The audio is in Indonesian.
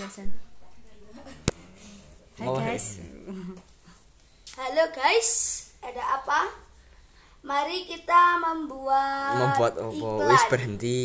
Biasan. Hai Oh, hai. guys. Halo guys, ada apa? Mari kita membuat membuat apa iklan. wis berhenti